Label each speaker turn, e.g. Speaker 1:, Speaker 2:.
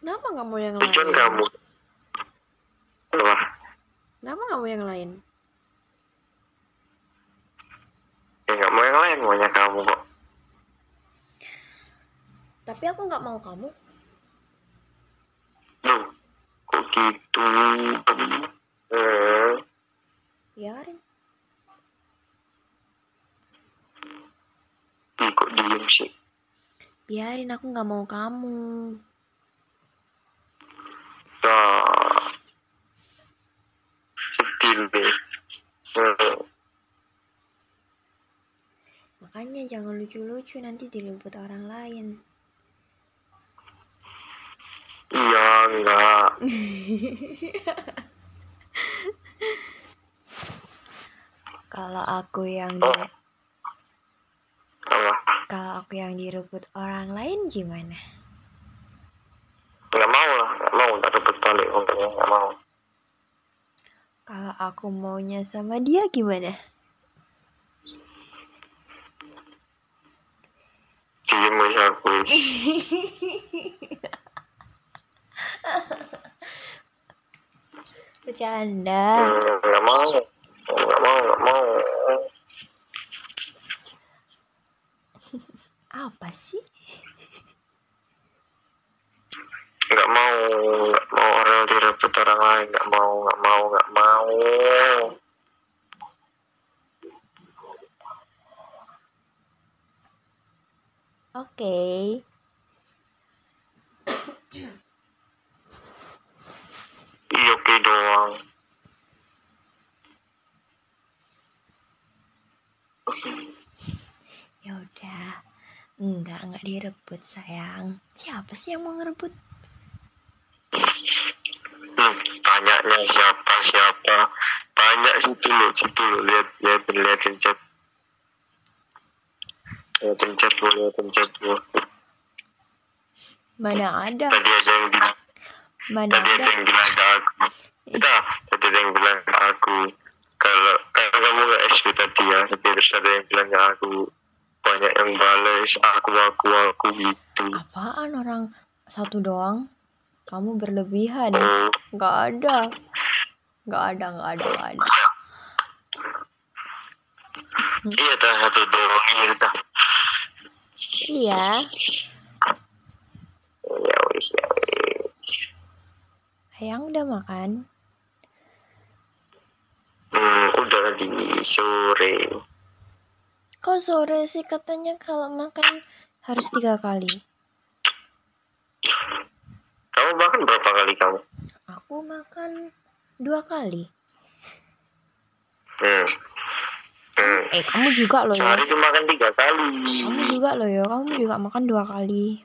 Speaker 1: Kenapa nggak mau yang
Speaker 2: tujuan
Speaker 1: lain?
Speaker 2: kamu apa
Speaker 1: Kenapa nggak mau yang lain?
Speaker 2: ya nggak mau yang lain maunya kamu kok
Speaker 1: Tapi aku nggak mau kamu.
Speaker 2: Duh, kok gitu eh
Speaker 1: Biarin.
Speaker 2: ih, kok diem sih
Speaker 1: Biarin aku nggak mau kamu.
Speaker 2: nah sedih deh Eh,
Speaker 1: Makanya jangan lucu-lucu nanti diliput orang lain.
Speaker 2: iya enggak
Speaker 1: Kalau aku yang
Speaker 2: Oh.
Speaker 1: di-
Speaker 2: apa
Speaker 1: kalau aku yang direbut orang lain gimana?
Speaker 2: nggak mau lah nggak mau nggak rebut balik pokoknya nggak mau
Speaker 1: Kalau aku maunya sama dia gimana?
Speaker 2: diem aja aku is.
Speaker 1: Bercanda.
Speaker 2: Hmm, nggak mau nggak mau nggak mau
Speaker 1: Apa sih?
Speaker 2: nggak mau nggak mau orang direbut orang lain nggak mau nggak mau nggak mau
Speaker 1: Oke.
Speaker 2: iya oke doang
Speaker 1: Ya udah. Enggak, enggak direbut, sayang. Siapa sih yang mau ngerebut?
Speaker 2: Hmm, tanyanya siapa siapa banyak situ lo situ lo lihat lihat lihatin chat lihatin chat lo lihatin chat lo
Speaker 1: Mana ada?
Speaker 2: tadi ada yang bilang
Speaker 1: Mana
Speaker 2: tadi ada
Speaker 1: Ya. ada?
Speaker 2: yang bilang ke aku kita tadi ada yang bilang ke aku kalau kalau kamu nggak SP tadi ya tadi terus ada yang bilang ke aku banyak yang balas aku aku aku gitu
Speaker 1: Apaan orang satu doang? Kamu berlebihan.
Speaker 2: oh
Speaker 1: Enggak ada. Enggak ada, enggak ada, enggak ada.
Speaker 2: iya dah satu doang iya dah
Speaker 1: Iya.
Speaker 2: ya wis ya wis
Speaker 1: Sayang udah makan?
Speaker 2: hmm, udah tadi sore
Speaker 1: Kok sore sih katanya kalau makan harus tiga kali.
Speaker 2: Kamu makan berapa kali kamu?
Speaker 1: Aku makan dua kali.
Speaker 2: Hmm. Hmm.
Speaker 1: Eh, kamu juga loh ya.
Speaker 2: Sehari cuma makan tiga kali.
Speaker 1: Kamu juga loh ya. Kamu juga makan dua kali.